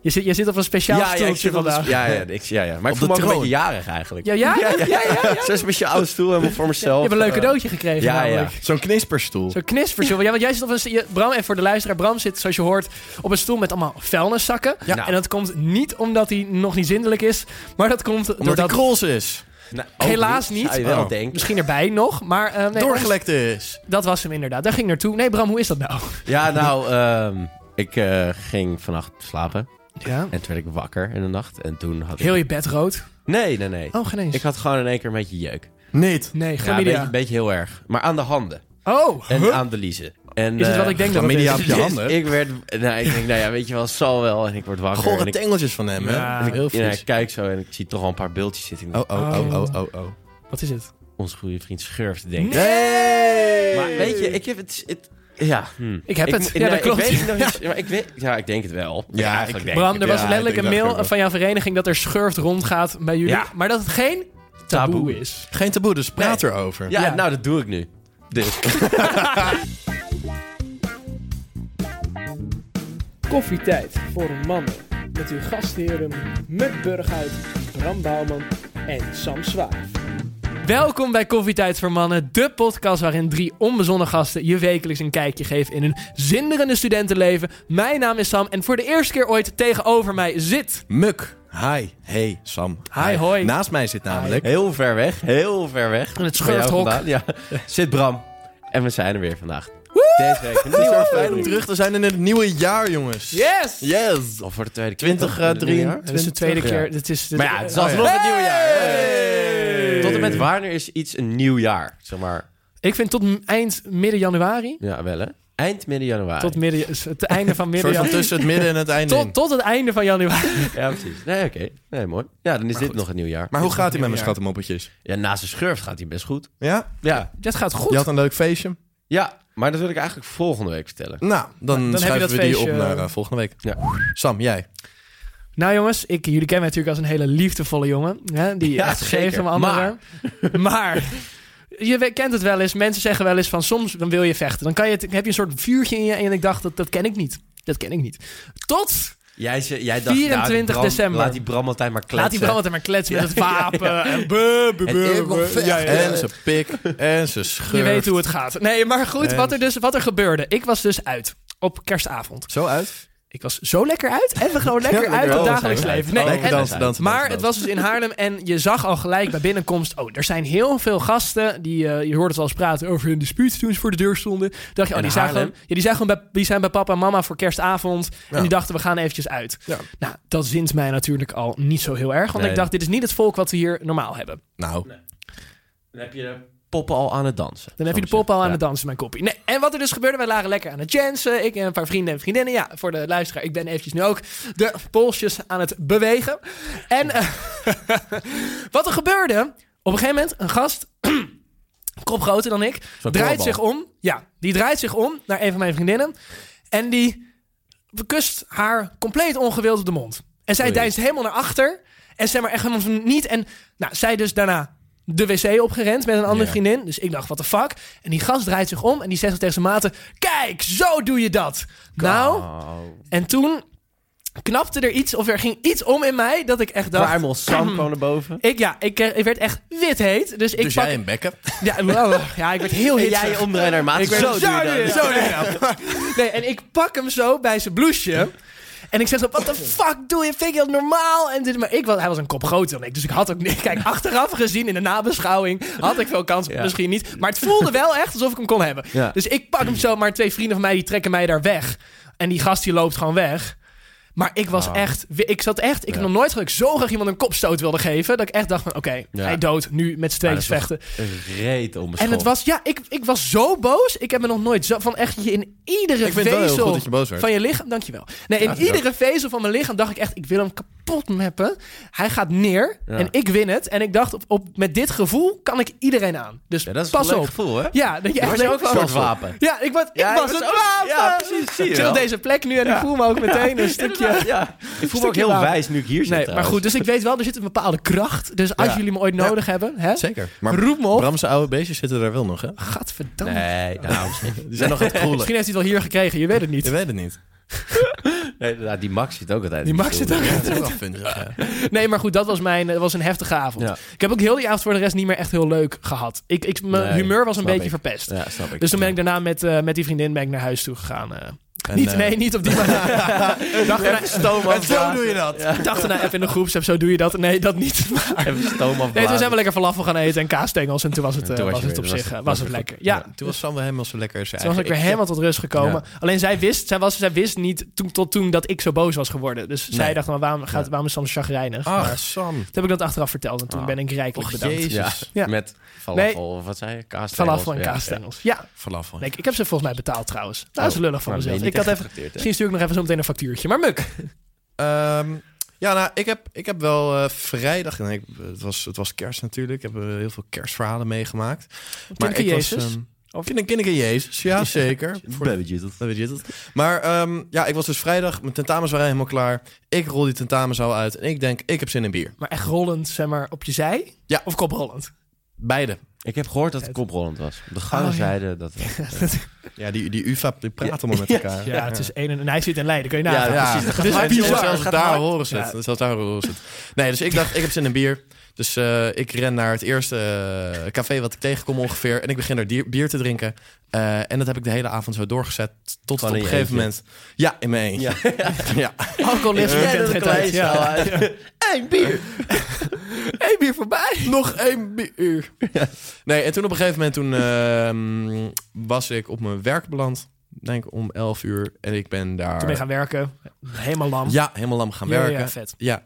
Je zit, je zit op een speciaal stoeltje vandaag. ja, ja, ik, ja, ja. Maar ik voel me ook een beetje jarig eigenlijk. Ja, ja? ja, Zo is een beetje oude stoel helemaal voor mezelf. Je hebt een leuk Eh, cadeautje gekregen Ja, ja. namelijk. Zo'n knisperstoel. Zo'n knisperstoel. Ja, want jij zit op een... st- je- Bram, even voor de luisteraar. Bram zit, zoals je hoort, op een stoel met allemaal vuilniszakken. Ja. En dat komt niet omdat hij nog niet zindelijk is, maar dat komt Omdat hij doordat... krols is. Nou, ook Helaas niet. Zou je wel Oh. denken. Misschien erbij nog, maar... eh, nee, Doorgelekt is. Dat was hem inderdaad. Daar ging ik naartoe. Nee, Bram, hoe is dat nou? Ja, nou, ehm, ik eh, ging vannacht slapen. Ja. En toen werd ik wakker in de nacht. En toen had ik... Heel je bed rood. Nee, nee, nee. Oh, geen eens. Ik had gewoon in één keer een beetje jeuk. Niet. Nee, Ja, een beetje, chlamydia. een beetje heel erg. Maar aan de handen. Oh, En aan de liezen. En, is het eh, wat ik denk dat het ja, is? chlamydia. precies. Op je handen? Ik werd... Nou, ik denk, nou ja, weet je wel, het zal wel. En ik word wakker. en Gore ik, tengeltjes van hem, hè? Ja, heel en ik oh, vies. kijk zo en ik zie toch al een paar beeldjes zitten. Oh, oh, oh, oh, oh, oh. Wat is het? Onze goede vriend Schurft, denk ik. Hey! Maar weet je, ik heb het... het- ja, hm. Ik heb het. Ik, Ja, dat klopt. Ik weet het nog niet, maar ik weet, ja, ik denk het wel. Ja, eigenlijk ik- denk Bram, ik er het. was Ja, letterlijk ik een denk mail dat van jouw vereniging dat er schurft rondgaat bij jullie. Ja. Maar dat het geen taboe, Taboe. is. Geen taboe, dus praat erover. Ja, Ja. nou, dat doe ik nu. Dus. Koffietijd voor mannen. Met uw gastheren Muk Burghuis, Bram Bouwman en Sam Zwaar. Welkom bij Koffietijd voor Mannen, de podcast waarin drie onbezonnen gasten je wekelijks een kijkje geven in hun zinderende studentenleven. Mijn naam is Sam en voor de eerste keer ooit tegenover mij zit. Muk. Hi. Hey, Sam. Nou, Hi, hoi. Naast mij zit namelijk... Heel ver weg, heel ver weg. En het Bij jou schurfthok. vandaan, Ja. Zit Bram. En we zijn er weer vandaag. Deze week. Het is Heel weer fijn om nieuw. terug te zijn in het nieuwe jaar, jongens. Yes! Yes. Al voor de tweede keer. 20, eh, Het nieuwe jaar. 23. Dit is de tweede keer. Dit is de, Maar ja, het is Oh, alsnog het nieuwe jaar. Hey! Tot en met wanneer is iets een nieuw jaar? Zeg maar, Ik vind tot m- eind midden januari. ja wel hè. Eind midden januari. Tot midden, s- het einde van Een midden soort van januari. tussen het midden en het einde in. Tot, tot het einde van januari. Ja, precies. Nee, oké. Nee, mooi. Ja, dan is dit nog het nieuw jaar. Maar hoe gaat hij met mijn schattenmoppetjes? Ja, naast de schurft gaat hij best goed. Ja? Ja. Dat gaat goed. Je had een leuk feestje? Ja, maar dat wil ik eigenlijk volgende week vertellen. Nou, dan, dat schuiven we die op feestje, naar eh, eh, volgende week. Ja. Sam, jij. Nou jongens, ik, jullie kennen mij natuurlijk als een hele liefdevolle jongen. Hè, die Ja, echt zeker. geeft om anderen. Maar. je we- kent het wel eens. Mensen zeggen wel eens van soms dan wil je vechten. Dan kan je het, heb je een soort vuurtje in je. En ik dacht, dat, dat ken ik niet. Dat ken ik niet. Tot Jij, ze- jij dacht, 24 nou, die Bram- december. Laat die Bram altijd maar kletsen. laat die brand maar kletsen met het wapen. En En En zijn pik. En zijn schurft. Eh, je weet hoe het gaat. Nee, maar goed, En- wat er, dus, wat er gebeurde. Ik was dus uit op kerstavond. Zo uit? Ik was zo lekker uit en we gewoon lekker uit op wel. het dagelijks leven. Nee, Lekker en- dansen, dansen, maar dansen, het dansen. was dus in Haarlem en je zag al gelijk bij binnenkomst... oh, er zijn heel veel gasten, die, eh, je hoorde het al eens praten over hun dispuut toen ze voor de deur stonden. Toen dacht je, oh, In die zijn, Haarlem? gewoon, ja, die zijn gewoon bij, die zijn bij papa en mama voor kerstavond. En die dachten, we gaan eventjes uit. Ja. Nou, dat zint mij natuurlijk al niet zo heel erg. Want Nee. ik dacht, dit is niet het volk wat we hier normaal hebben. Nou, Dan heb je de poppen al aan het dansen. Dan heb je de pop al aan het dansen, mijn koppie. Nee, en wat er dus gebeurde, wij lagen lekker aan het jansen. Ik en een paar vrienden en vriendinnen. Ja, voor de luisteraar, ik ben eventjes nu ook de polsjes aan het bewegen. En eh, wat er gebeurde, op een gegeven moment, een gast, kop groter dan ik, draait koolbal. zich om. Ja, die draait zich om naar een van mijn vriendinnen. En die kust haar compleet ongewild op de mond. En Oh, zij deinst helemaal naar achter. En zeg maar echt helemaal van niet. En nou, zij dus daarna de wc opgerend met een andere Ja. vriendin. Dus ik dacht, wat de fuck? En die gast draait zich om en die zegt zo tegen zijn maten... Kijk, zo doe je dat! Nou, Oh. en toen knapte er iets of er ging iets om in mij... dat ik echt dacht... Primal Sam kwam naar boven. Ik, ja, ik, eh, ik werd echt wit heet. Dus ik dus pak... jij een bekken. Ja, wow, ja, ik werd heel En hitsig. jij je omdraait naar maat. Ik werd- Zo doe je dat. doe je dat. Nee, en ik pak hem zo bij zijn blouseje. En ik zeg zo, wat de fuck doe je? Vind je dat normaal? En dit, maar ik was, hij was een kop groter dan ik. Dus ik had ook niet... Kijk, achteraf gezien in de nabeschouwing had ik veel kans. Misschien niet. Maar het voelde wel echt alsof ik hem kon hebben. Ja. Dus ik pak hem zo, maar twee vrienden van mij die trekken mij daar weg. En die gast die loopt gewoon weg. Maar ik Ah. was echt... Ik zat echt... Ik heb nog nooit gehad dat ik zo graag iemand een kopstoot wilde geven... dat ik echt dacht van, oké, Ja. hij dood, nu met z'n tweeën dat is toch- vechten. Reet om En het was, ja, ik, ik was zo boos. Ik heb me nog nooit zo van echt je in iedere Ik vind het wel heel vezel goed dat je boos werd. van je lichaam, dankjewel. Nee, in iedere vezel van mijn lichaam dacht ik echt, ik wil hem kapot kapot meppen. Hij gaat neer Ja. en ik win het. En ik dacht, op, op, met dit gevoel kan ik iedereen aan. Dus Ja, dat is pas een leuk op. gevoel, hè? Ja, dat je echt was je denkt ook een van- soort wapen. Ja, ik, was, Ja, ik je was was het ook- wapen! ja, precies, zie je Chill wel. deze plek nu en ik voel me ook meteen een stukje... Ja. Ik voel me ook Stukje heel wapen. wijs nu ik hier zit. Nee, maar trouwens. goed, dus ik weet wel, er zit een bepaalde kracht. Dus als Ja. jullie me ooit nodig hebben, hè, Zeker. Maar roep me op. Bramse oude beestjes zitten er wel nog, hè? Gadverdamme. Nee, nou, Die zijn nog aan het koelen. Misschien heeft hij het wel hier gekregen, je weet het Je niet. weet het niet. nee, nou, die Max zit ook altijd. Die in de Max zit stoel. ook Ja, dat is wel funzig, ja. Nee, maar goed, dat was, mijn, dat was een heftige avond. Ja. Ik heb ook heel die avond voor de rest niet meer echt heel leuk gehad. Ik, ik, mijn Nee, humeur was een snap beetje ik. verpest. Ja, snap ik. Dus toen ben ik daarna met, eh, met die vriendin ben ik naar huis toe gegaan. eh. En, niet, eh, nee, niet op die manier. dag daarna, En zo doe je dat. dag daarna even in de groepsapp, zo doe je dat. Nee, dat niet. Maar- Even stoom afblazen. Nee, toen zijn we lekker falafel gaan eten en kaasstengels. En toen was het, eh, toen was was je het op weer- was zich het- eh, was was het het lekker. goed. Ja, Ja. Toen was Sam wel helemaal zo lekker. zijn Toen was ik eigen weer ik. helemaal tot rust gekomen. Alleen zij wist, zij was, zij wist niet toen, tot toen dat ik zo boos was geworden. Dus zij Nee. dacht, maar waarom, gaat, waarom is Sam zo chagrijnig? Maar Ach, Ah, Sam. toen heb ik dat achteraf verteld en toen Ah. ben ik rijkelijk Och, bedankt. jezus. Ja. Ja. Met falafel, of wat zei je? Kaasstengels. Falafel en Ja, Oh, kaasstengels. Ja, Vanaf van. Nee, ik- ik heb ze volgens mij betaald trouwens. Nou, dat is lullig van Maar ben je mezelf. niet Ik had echt even, gefrituurd, hè? misschien stuur ik nog even zo meteen een factuurtje. Maar Muk, Ehm, ja, nou, ik heb, ik heb wel eh, vrijdag... Nee, ik- het, was, het was kerst natuurlijk. Ik heb eh, heel veel kerstverhalen meegemaakt. Kinderke ik Jezus? Was, ehm, Of- kinder, kinderke Jezus, ja zeker. Voor- Babbage, dat- dat weet je het. Maar ehm, ja, ik was dus vrijdag, mijn tentamens waren helemaal klaar. Ik rol die tentamenzaal uit en ik denk, ik heb zin in bier. maar echt rollend, zeg maar, op je zij? Ja. Of koprollend? Beide. Ik heb gehoord dat het koprollend was. De gangen Oh, ja. zeiden dat... Ja, Ja, die, die UFA die praten allemaal met elkaar. Ja, het is een en, en hij zit in Leiden, kun je ja, nagaan. Dus- precies. Het is Maar bizar. Zelfs Gaat daar hard. horen ze het. Zelfs daar horen ze het. Nee, dus ik dacht, ik heb zin in bier. Dus eh, ik ren naar het eerste eh, café wat ik tegenkom ongeveer. En ik begin daar dier- bier te drinken. Eh, en dat heb ik de hele avond zo doorgezet. Tot Gewoon op in een je gegeven eentje. moment... Ja, in mijn eentje. Ja. Alcoholisme Ja, kent dat geen klein tijd. Ja. zaal, hè. Eén bier. Eén bier voorbij. Nog één bier. Nee, en toen op een gegeven moment toen, ehm, was ik op mijn werk beland. Denk ik om 11 uur. En ik ben daar... Toen ben je gaan werken. Helemaal lam. Ja, helemaal lam gaan Ja, ja, werken. ja, vet. Ja.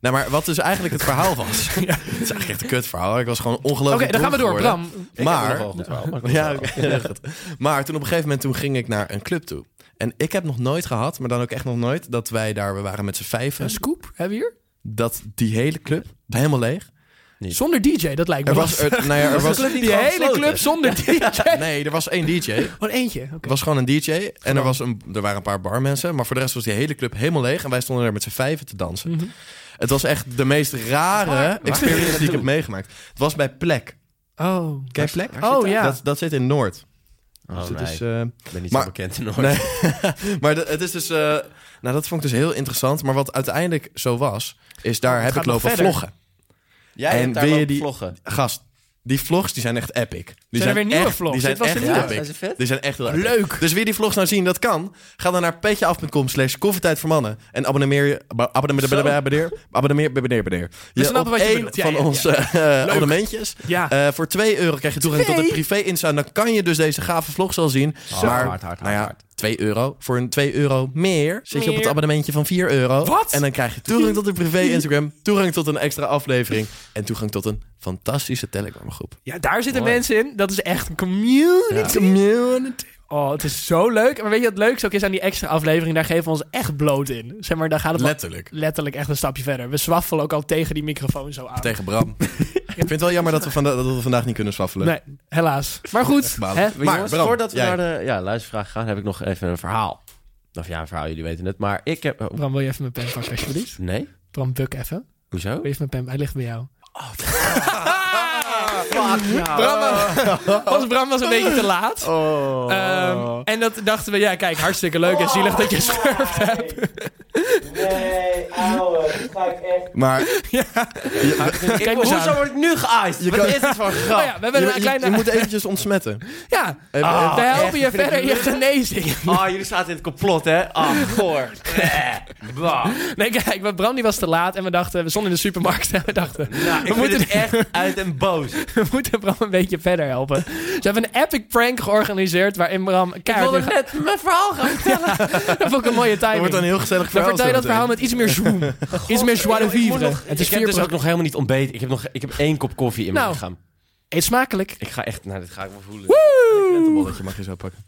Nou, maar wat dus eigenlijk het verhaal was. Het is eigenlijk echt een kut verhaal. Ik was gewoon Oké, ongelooflijk dan gaan we door. dronken geworden. Bram, Ik heb nog wel Maar, een goed verhaal, maar ik ja, moet wel. oké, goed. maar toen op een gegeven moment toen ging ik naar een club toe. En ik heb nog nooit gehad, maar dan ook echt nog nooit, dat wij daar, we waren met z'n een vijven, scoop hebben we hier? dat die hele club helemaal leeg. Zonder DJ, dat lijkt me Er was, lastig. er, nou ja, er was, die hele gesloten? club zonder DJ. nee, er was één DJ. Er Gewoon eentje. oké. was gewoon een DJ en er, was een, er waren een paar barmensen, maar voor de rest was die hele club helemaal leeg en wij stonden daar met z'n vijven te dansen. Mhm. Het was echt de meest rare experience die ik heb meegemaakt. Het was bij Plek. Oh. Kijk, Plek? Oh ja. Dat, dat zit in Noord. Oh, Dus het nee. is, eh, Ik ben niet Maar- zo bekend in Noord. Nee. maar de- het is dus... eh, nou, dat vond ik dus heel interessant. Maar wat uiteindelijk zo was, is daar Het heb gaat ik nog lopen Oh, verder. vloggen. Jij En hebt daar wil je lopen die- vloggen. Gast, die vlogs die zijn echt epic. Die er weer nieuwe echt, vlogs? Die zijn Dit was de echt nieuwe. epic. Zijn ze vet? Die zijn echt heel epic. Leuk. Dus wie die vlogs nou zien, dat kan. Ga dan naar petjeaf.com slash koffietijd voor mannen. En abonneer je... ab- Abonneer... Zo. Abonneer... Abonneer... Abonneer... Abonneer... Je snappen op wat je één bedoelt. Ja, van ja, ja. onze eh, abonnementjes. Ja. Eh, voor 2 euro krijg je toegang tot Twee? het privé Insta. En dan kan je dus deze gave vlogs al zien. maar, hard, hard, nou ja, hard. 2 euro. Voor een 2 euro meer zit je op het Meer. abonnementje van 4 euro. Wat? En dan krijg je toegang tot het privé Instagram. Toegang tot een extra aflevering. En toegang tot een fantastische Telegram groep. Ja, daar zitten Mooi. mensen in. Dat is echt een community. Community. Oh, het is zo leuk. Maar weet je wat het leukste ook is aan die extra aflevering? Daar geven we ons echt bloot in. Zeg maar, daar gaat het wel Letterlijk. letterlijk echt een stapje verder. We swaffelen ook al tegen die microfoon zo aan. Tegen Bram. Ik vind het wel jammer dat we, vanda- dat we vandaag niet kunnen swaffelen. Nee, helaas. Maar goed. balen. Hè? Maar Maar, jongens, Bram, voordat we jij. naar de ja, luistervraag gaan, heb ik nog even een verhaal. Of ja, een verhaal, jullie weten het. Maar ik heb... oh, Bram, wil je even mijn pen pakken alsjeblieft? nee? Bram, buk even. Wil Hoezo? je even mijn pen? Hij ligt bij jou. Oh, Ons Bram was een beetje te laat. Oh. Ehm, en dat dachten we, ja, kijk, hartstikke leuk en zielig Oh. dat je schurft hebt. Nee, ouwe, dat ga ik echt. Maar Kijk maar eens Hoezo aan. word ik nu geëist? Wat is het voor grap? Oh ja, we hebben je, een je, kleine... je moet eventjes ontsmetten. Ja, Even- even- we helpen je Eh, echt, vind ik verder in je genezing. Ah, jullie zaten in het complot, hè? Ah, goor. Eh, bah. Nee, kijk, want Bram die was te laat en we dachten, we stonden in de supermarkt en we dachten, Nou, ik we, moet moeten, het echt uit en boos. we moeten Bram een beetje verder helpen. Ze hebben een epic prank georganiseerd waarin Bram Ik keihard... wilde in gaat- net mijn verhaal gaan vertellen. Dat vond ik een mooie Er timing. wordt een Dan heel gezellig verhaal. vertel je dat zo verhaal meteen. met iets meer zoom. iets meer joie de Ik moet vivre. nog- Het is ik heb dus 4%. ook nog helemaal niet ontbeten. Ik heb, nog, ik heb één kop koffie in Nou. mijn lichaam. Eet smakelijk. Ik ga echt... Nou, dit ga ik wel voelen. Woe! Bolletje mag je zo pakken.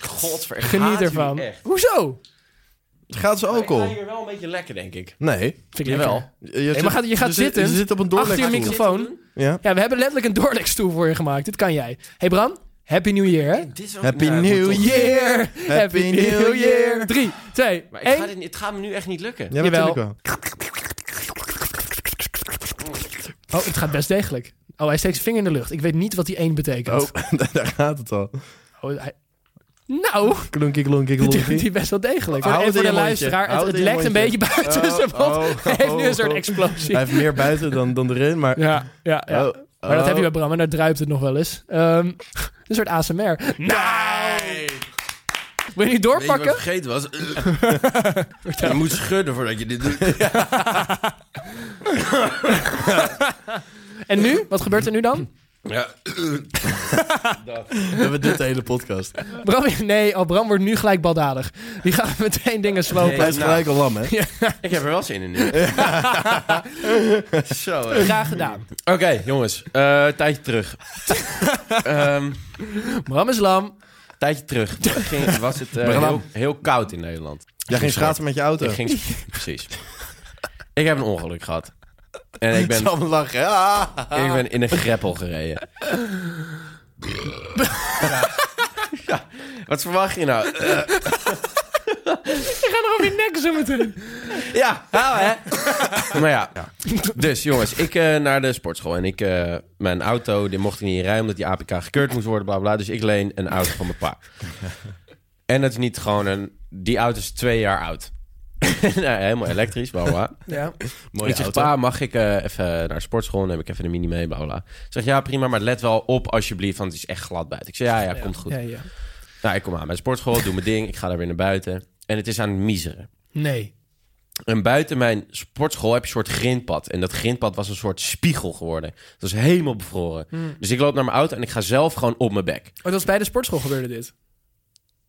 Godver, ik Geniet haat jullie ervan. echt. Hoezo? Gaat ze Ik ga alcohol? hier wel een beetje lekker, denk ik. Nee. Vind ik Jawel. lekker. maar gaat- je gaat zit- zitten. Je zit op een Achter je doorlekstoel. microfoon. Ja. Ja, we hebben letterlijk een doorlekstoel voor je gemaakt. Dit kan jij. hey Bram, Happy New Year, hè? Dit is ook- Happy Ja, het New moet toch- Year! Happy New Year! 3, 2, Maar ik ga 1. dit, het gaat me nu echt niet lukken. Ja, Jawel. natuurlijk wel. Oh, het gaat best degelijk. Oh, hij steekt zijn vinger in de lucht. Ik weet niet wat die 1 betekent. Oh, daar gaat het al. Oh, hij- Nou, Klonkie, klonkie, dit klonkie. doet hij best wel degelijk. Hou Voor, en het voor in de je mondje. luisteraar, het, het Hou het in je lekt een beetje mondje. buiten zijn mond. Oh, oh, Hij heeft nu een oh, soort oh. explosie. Hij heeft meer buiten dan, dan erin, maar... Ja, ja, ja. Oh, Maar dat oh. heb je bij Bram en daar druipt het nog wel eens. Ehm, een soort ASMR. Nee! Wil je niet Weet je wat ik doorpakken? vergeten was? je moet schudden voordat je dit doet. En nu? Wat gebeurt er nu dan? Ja. We hebben dit de hele podcast. Bram, nee, oh, Bram wordt nu gelijk baldadig. Die gaat meteen dingen slopen. Hij is gelijk al lam, hè? nou. Ik heb er wel zin in nu. Zo, hè. Graag gedaan. Oké, jongens. eh, tijdje terug. Ehm, Bram is lam. tijdje terug. Ging, was het eh, We gaan heel, aan. heel koud in Nederland. Jij ging schaatsen met je auto. Ik ging... Precies. Ik heb een ongeluk gehad. En ik ben, Sam lachen. Ah. Ja. ik ben in een greppel gereden. ja. Wat verwacht je nou? Eh, Je gaat nog op je nek zo meteen. Ja, nou hè. maar ja. Dus jongens, ik eh, naar de sportschool. En ik, eh, mijn auto, die mocht ik niet in rijden omdat die APK gekeurd moest worden, bla bla. Dus ik leen een auto van mijn pa. En dat is niet gewoon een... Die auto is twee jaar oud. nou, helemaal elektrisch, bla bla. Ja. ik zeg, pa, mag ik eh, even naar de sportschool? Dan heb ik even een mini mee, bla bla. Ik zeg, ja prima, maar let wel op alsjeblieft, want het is echt glad buiten. Ik zeg, ja, ja, komt goed. Ja, ja. Nou, ik kom aan bij de sportschool, doe mijn ding. Ik ga daar weer naar buiten. En het is aan het miseren. Nee. En buiten mijn sportschool heb je een soort grindpad. En dat grindpad was een soort spiegel geworden. Het was helemaal bevroren. Hmm. Dus ik loop naar mijn auto en ik ga zelf gewoon op mijn bek. Oh, dat was bij de sportschool gebeurde dit.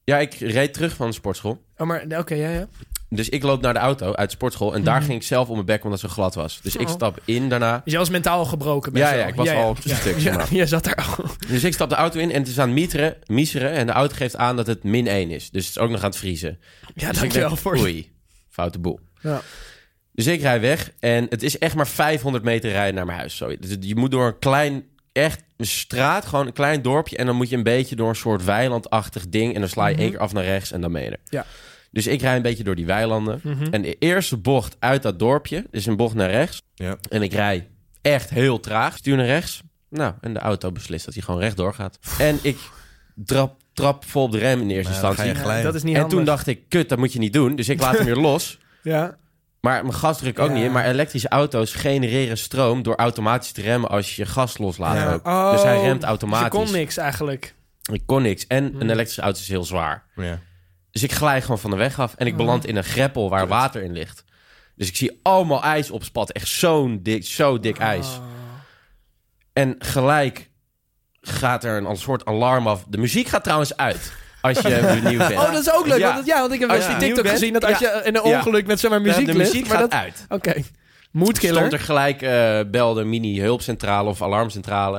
Ja, ik reed terug van de sportschool. Oh, maar oké, ja, ja. Dus ik loop naar de auto uit de sportschool. En daar ging ik zelf op mijn bek omdat ze glad was. Dus ik Hmm. Oh. stap in daarna. Dus jij was mentaal al gebroken. best Ja, wel. ja, ik was al op zijn stuk, zeg Ja, maar. je zat daar al. Dus ik stap de auto in en het is aan het mieteren, miezeren. En de auto geeft aan dat het min 1 is. Dus het is ook nog aan het vriezen. Ja, dus ik dankjewel denk, voor je. Oei, foute boel. Ja. Dus ik rij weg en het is echt maar 500 meter rijden naar mijn huis. Zo. Dus je moet door een klein, echt een straat, gewoon een klein dorpje. En dan moet je een beetje door een soort weilandachtig ding. En dan sla je één keer af naar rechts en dan ben je er. Ja. Dus ik rij een beetje door die weilanden. Mhm. En de eerste bocht uit dat dorpje is een bocht naar rechts. Ja. En ik rij echt heel traag. Stuur naar rechts. Nou, en de auto beslist dat hij gewoon rechtdoor gaat. En ik trap, trap vol op de rem in eerste Nou, dan ga instantie. je glijden. Dat is niet En handig. toen dacht ik, kut, dat moet je niet doen. Dus ik laat hem weer los. Ja. Maar mijn gas druk ook Ja. niet in. Maar elektrische auto's genereren stroom door automatisch te remmen als je je gas loslaat. Ja. Ook. dus hij remt automatisch. Dus je kon Hmm. niks eigenlijk. Ik kon niks. En een elektrische auto is heel zwaar. Ja. Dus ik glij gewoon van de weg af. Hmm. En ik beland in een greppel waar water in ligt. Dus ik zie allemaal ijs op spat. Echt zo'n dik, zo Oh. dik ijs. En gelijk gaat er een al- soort alarm af. De muziek gaat trouwens uit. Als je benieuwd bent. Oh, dat is ook leuk. Ja. Want, ja, want ik heb Als wel eens je die nieuw TikTok bent, gezien dat als je in een ja. ongeluk met zomaar muziek de ligt, muziek maar gaat dat- uit. Oké. Moodkiller. Stond er gelijk, eh, belde mini-hulpcentrale of alarmcentrale.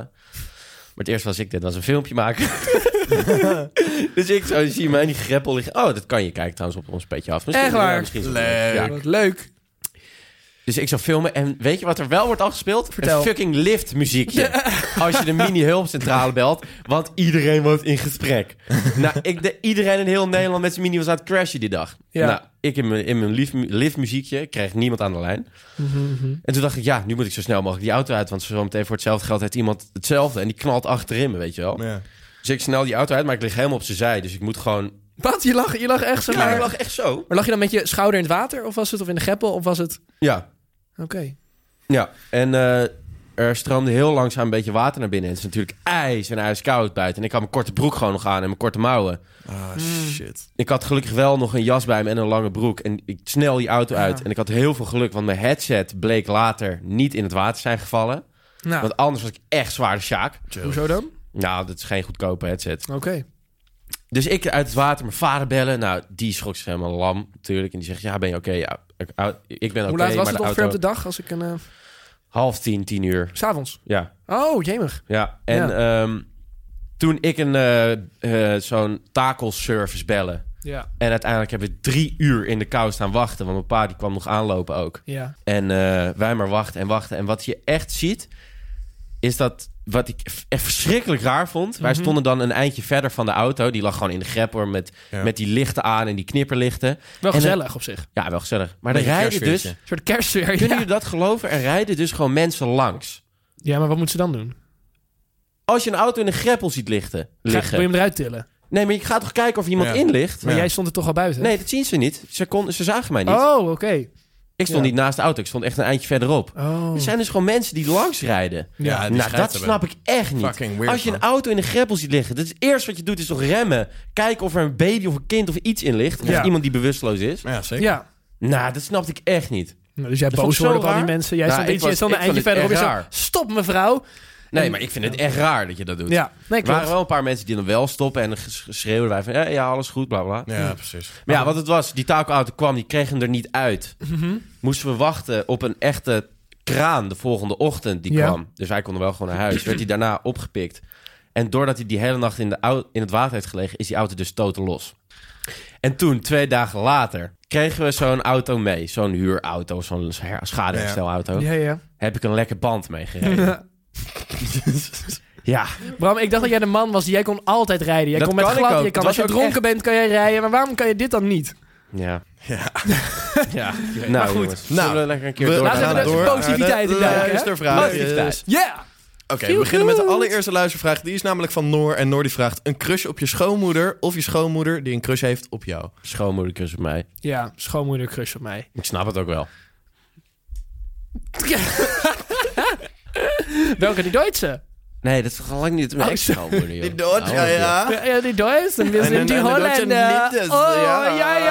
Maar het eerste was ik dit, was een filmpje maken. dus ik zo zie mij in die greppel liggen. Oh, dat kan je kijken trouwens op ons petje af. Misschien Echt waar? ja, misschien is het Leuk. Ja. Wat leuk. Dus ik zou filmen en weet je wat er wel wordt afgespeeld? Vertel. Een fucking liftmuziekje. Als je de mini-hulpcentrale belt, want iedereen was in gesprek. nou, ik, de, iedereen in heel Nederland met zijn mini was aan het crashen die dag. Ja. Nou, ik in mijn, in mijn lief- liftmuziekje kreeg niemand aan de lijn. Mhm, En toen dacht ik, ja, nu moet ik zo snel mogelijk die auto uit, want zo meteen voor hetzelfde geld heeft iemand hetzelfde en die knalt achterin me, weet je wel. Ja. Dus ik snel die auto uit, maar ik lig helemaal op zijn zij, dus ik moet gewoon... Wat? Je lag, je lag echt zo. Ja, maar, ik lag echt zo. maar lag je dan met je schouder in het water? Of was het of in de greppel? Of was het... Ja, Oké. Ja, en eh, er stroomde heel langzaam een beetje water naar binnen. Het is natuurlijk ijs en ijskoud buiten. En ik had mijn korte broek gewoon nog aan en mijn korte mouwen. Ah, shit. Ik had gelukkig wel nog een jas bij me en een lange broek. En ik snel die auto uit. En ik had heel veel geluk, want mijn headset bleek later niet in het water te zijn gevallen. Nou, Want anders was ik echt zwaar de sjaak. hoezo dan? Nou, dat is geen goedkope headset. Oké. Dus ik uit het water mijn vader bellen. Nou, die schrok zich helemaal lam natuurlijk. En die zegt, ja, ben je oké? Ja, ik- ik ben oké, Hoe laat was maar het de ongeveer op de auto... dag? Als ik een... eh, Half tien, tien uur. S S'avonds. Ja, Oh, jemig. Ja, en ehm, toen ik een eh, eh, zo'n takelservice bellen. Ja. En uiteindelijk hebben we drie uur in de kou staan wachten. Want mijn pa die kwam nog aanlopen ook. Ja. En eh, wij maar wachten en wachten. En wat je echt ziet, is dat wat ik f- echt verschrikkelijk raar vond. Wij Mhm. stonden dan een eindje verder van de auto. Die lag gewoon in de grepper met, Ja. met die lichten aan en die knipperlichten. Wel En, eh, gezellig op zich. Ja, wel gezellig. Maar er Beetje rijden dus... kerstfeertje. Een soort kerstfeer. Kunnen Ja. jullie dat geloven? Er rijden dus gewoon mensen langs. ja, maar wat moet ze dan doen? Als je een auto in een greppel ziet lichten, Ga, wil je liggen... hem eruit tillen? Nee, maar je gaat toch kijken of iemand Ja. in ligt? Maar Ja. jij stond er toch al buiten? Nee, dat zien ze niet. Ze, kon, ze zagen mij niet. Oh, oké. ik stond ja. niet naast de auto. Ik stond echt een eindje verderop. Oh. Er zijn dus gewoon mensen die langs rijden. Ja, die nou, schijt dat hebben. snap ik echt niet. Fucking weird, Als je een man. auto in een greppel ziet liggen, dat is het eerste wat je doet is toch remmen. Kijken of er een baby of een kind of iets in ligt. Of Ja. iemand die bewusteloos is. Ja, zeker. Ja. Nou, dat snapte ik echt niet. Nou, dus jij vond boos ik zo worden op al die raar. mensen. Jij Nou, stond, ik jij was- stond een ik eindje vond het verderop. Je echt zei, raar. stop mevrouw. Nee, maar ik vind het echt raar dat je dat doet. Ja, nee, er waren klopt. wel een paar mensen die dan wel stoppen en ges- schreeuwden wij van ja, ja, alles goed, bla bla. Ja, precies. Maar ja, wat het was, die takelauto kwam, die kreeg hem er niet uit. Moesten we wachten op een echte kraan de volgende ochtend die Ja. kwam. Dus wij konden wel gewoon naar huis. Werd hij daarna opgepikt. En doordat hij die hele nacht in, de au- in het water heeft gelegen, is die auto dus totaal los. En toen, twee dagen later, kregen we zo'n auto mee. Zo'n huurauto, zo'n her- schadeherstelauto. Ja, ja. Heb ik een lekker band meegereden. ja, Bram, ik dacht dat jij de man was die jij kon altijd rijden. Jij Dat kon met kan ik glad, ook. je kan Het als je was ook dronken bent kan jij rijden. Maar waarom kan je dit dan niet? ja. Ja. ja. Nou, maar goed. jongens. Nou, zullen we lekker een keer We door Laten gaan we de door naar positiviteit de in duiken, hè? luistervraagjes. Positiviteit. Yeah! Oké, we Feel beginnen met de good. allereerste luistervraag. Die is namelijk van Noor. En Noor die vraagt... een crush op je schoonmoeder of je schoonmoeder die een crush heeft op jou? Schoonmoeder kus op mij. Ja, schoonmoeder crush op mij. Ik snap het ook wel. Welke die Duitse? Nee, dat is toch al lang niet mijn ex-schoonmoeder, joh. Nou, Oh, Ah. Ja, ja, die Deutschen. Wir Nein, sind die nein, nein, die Holländer. Deutschen liebt es, Oh, ja, ja. Ah, Ah,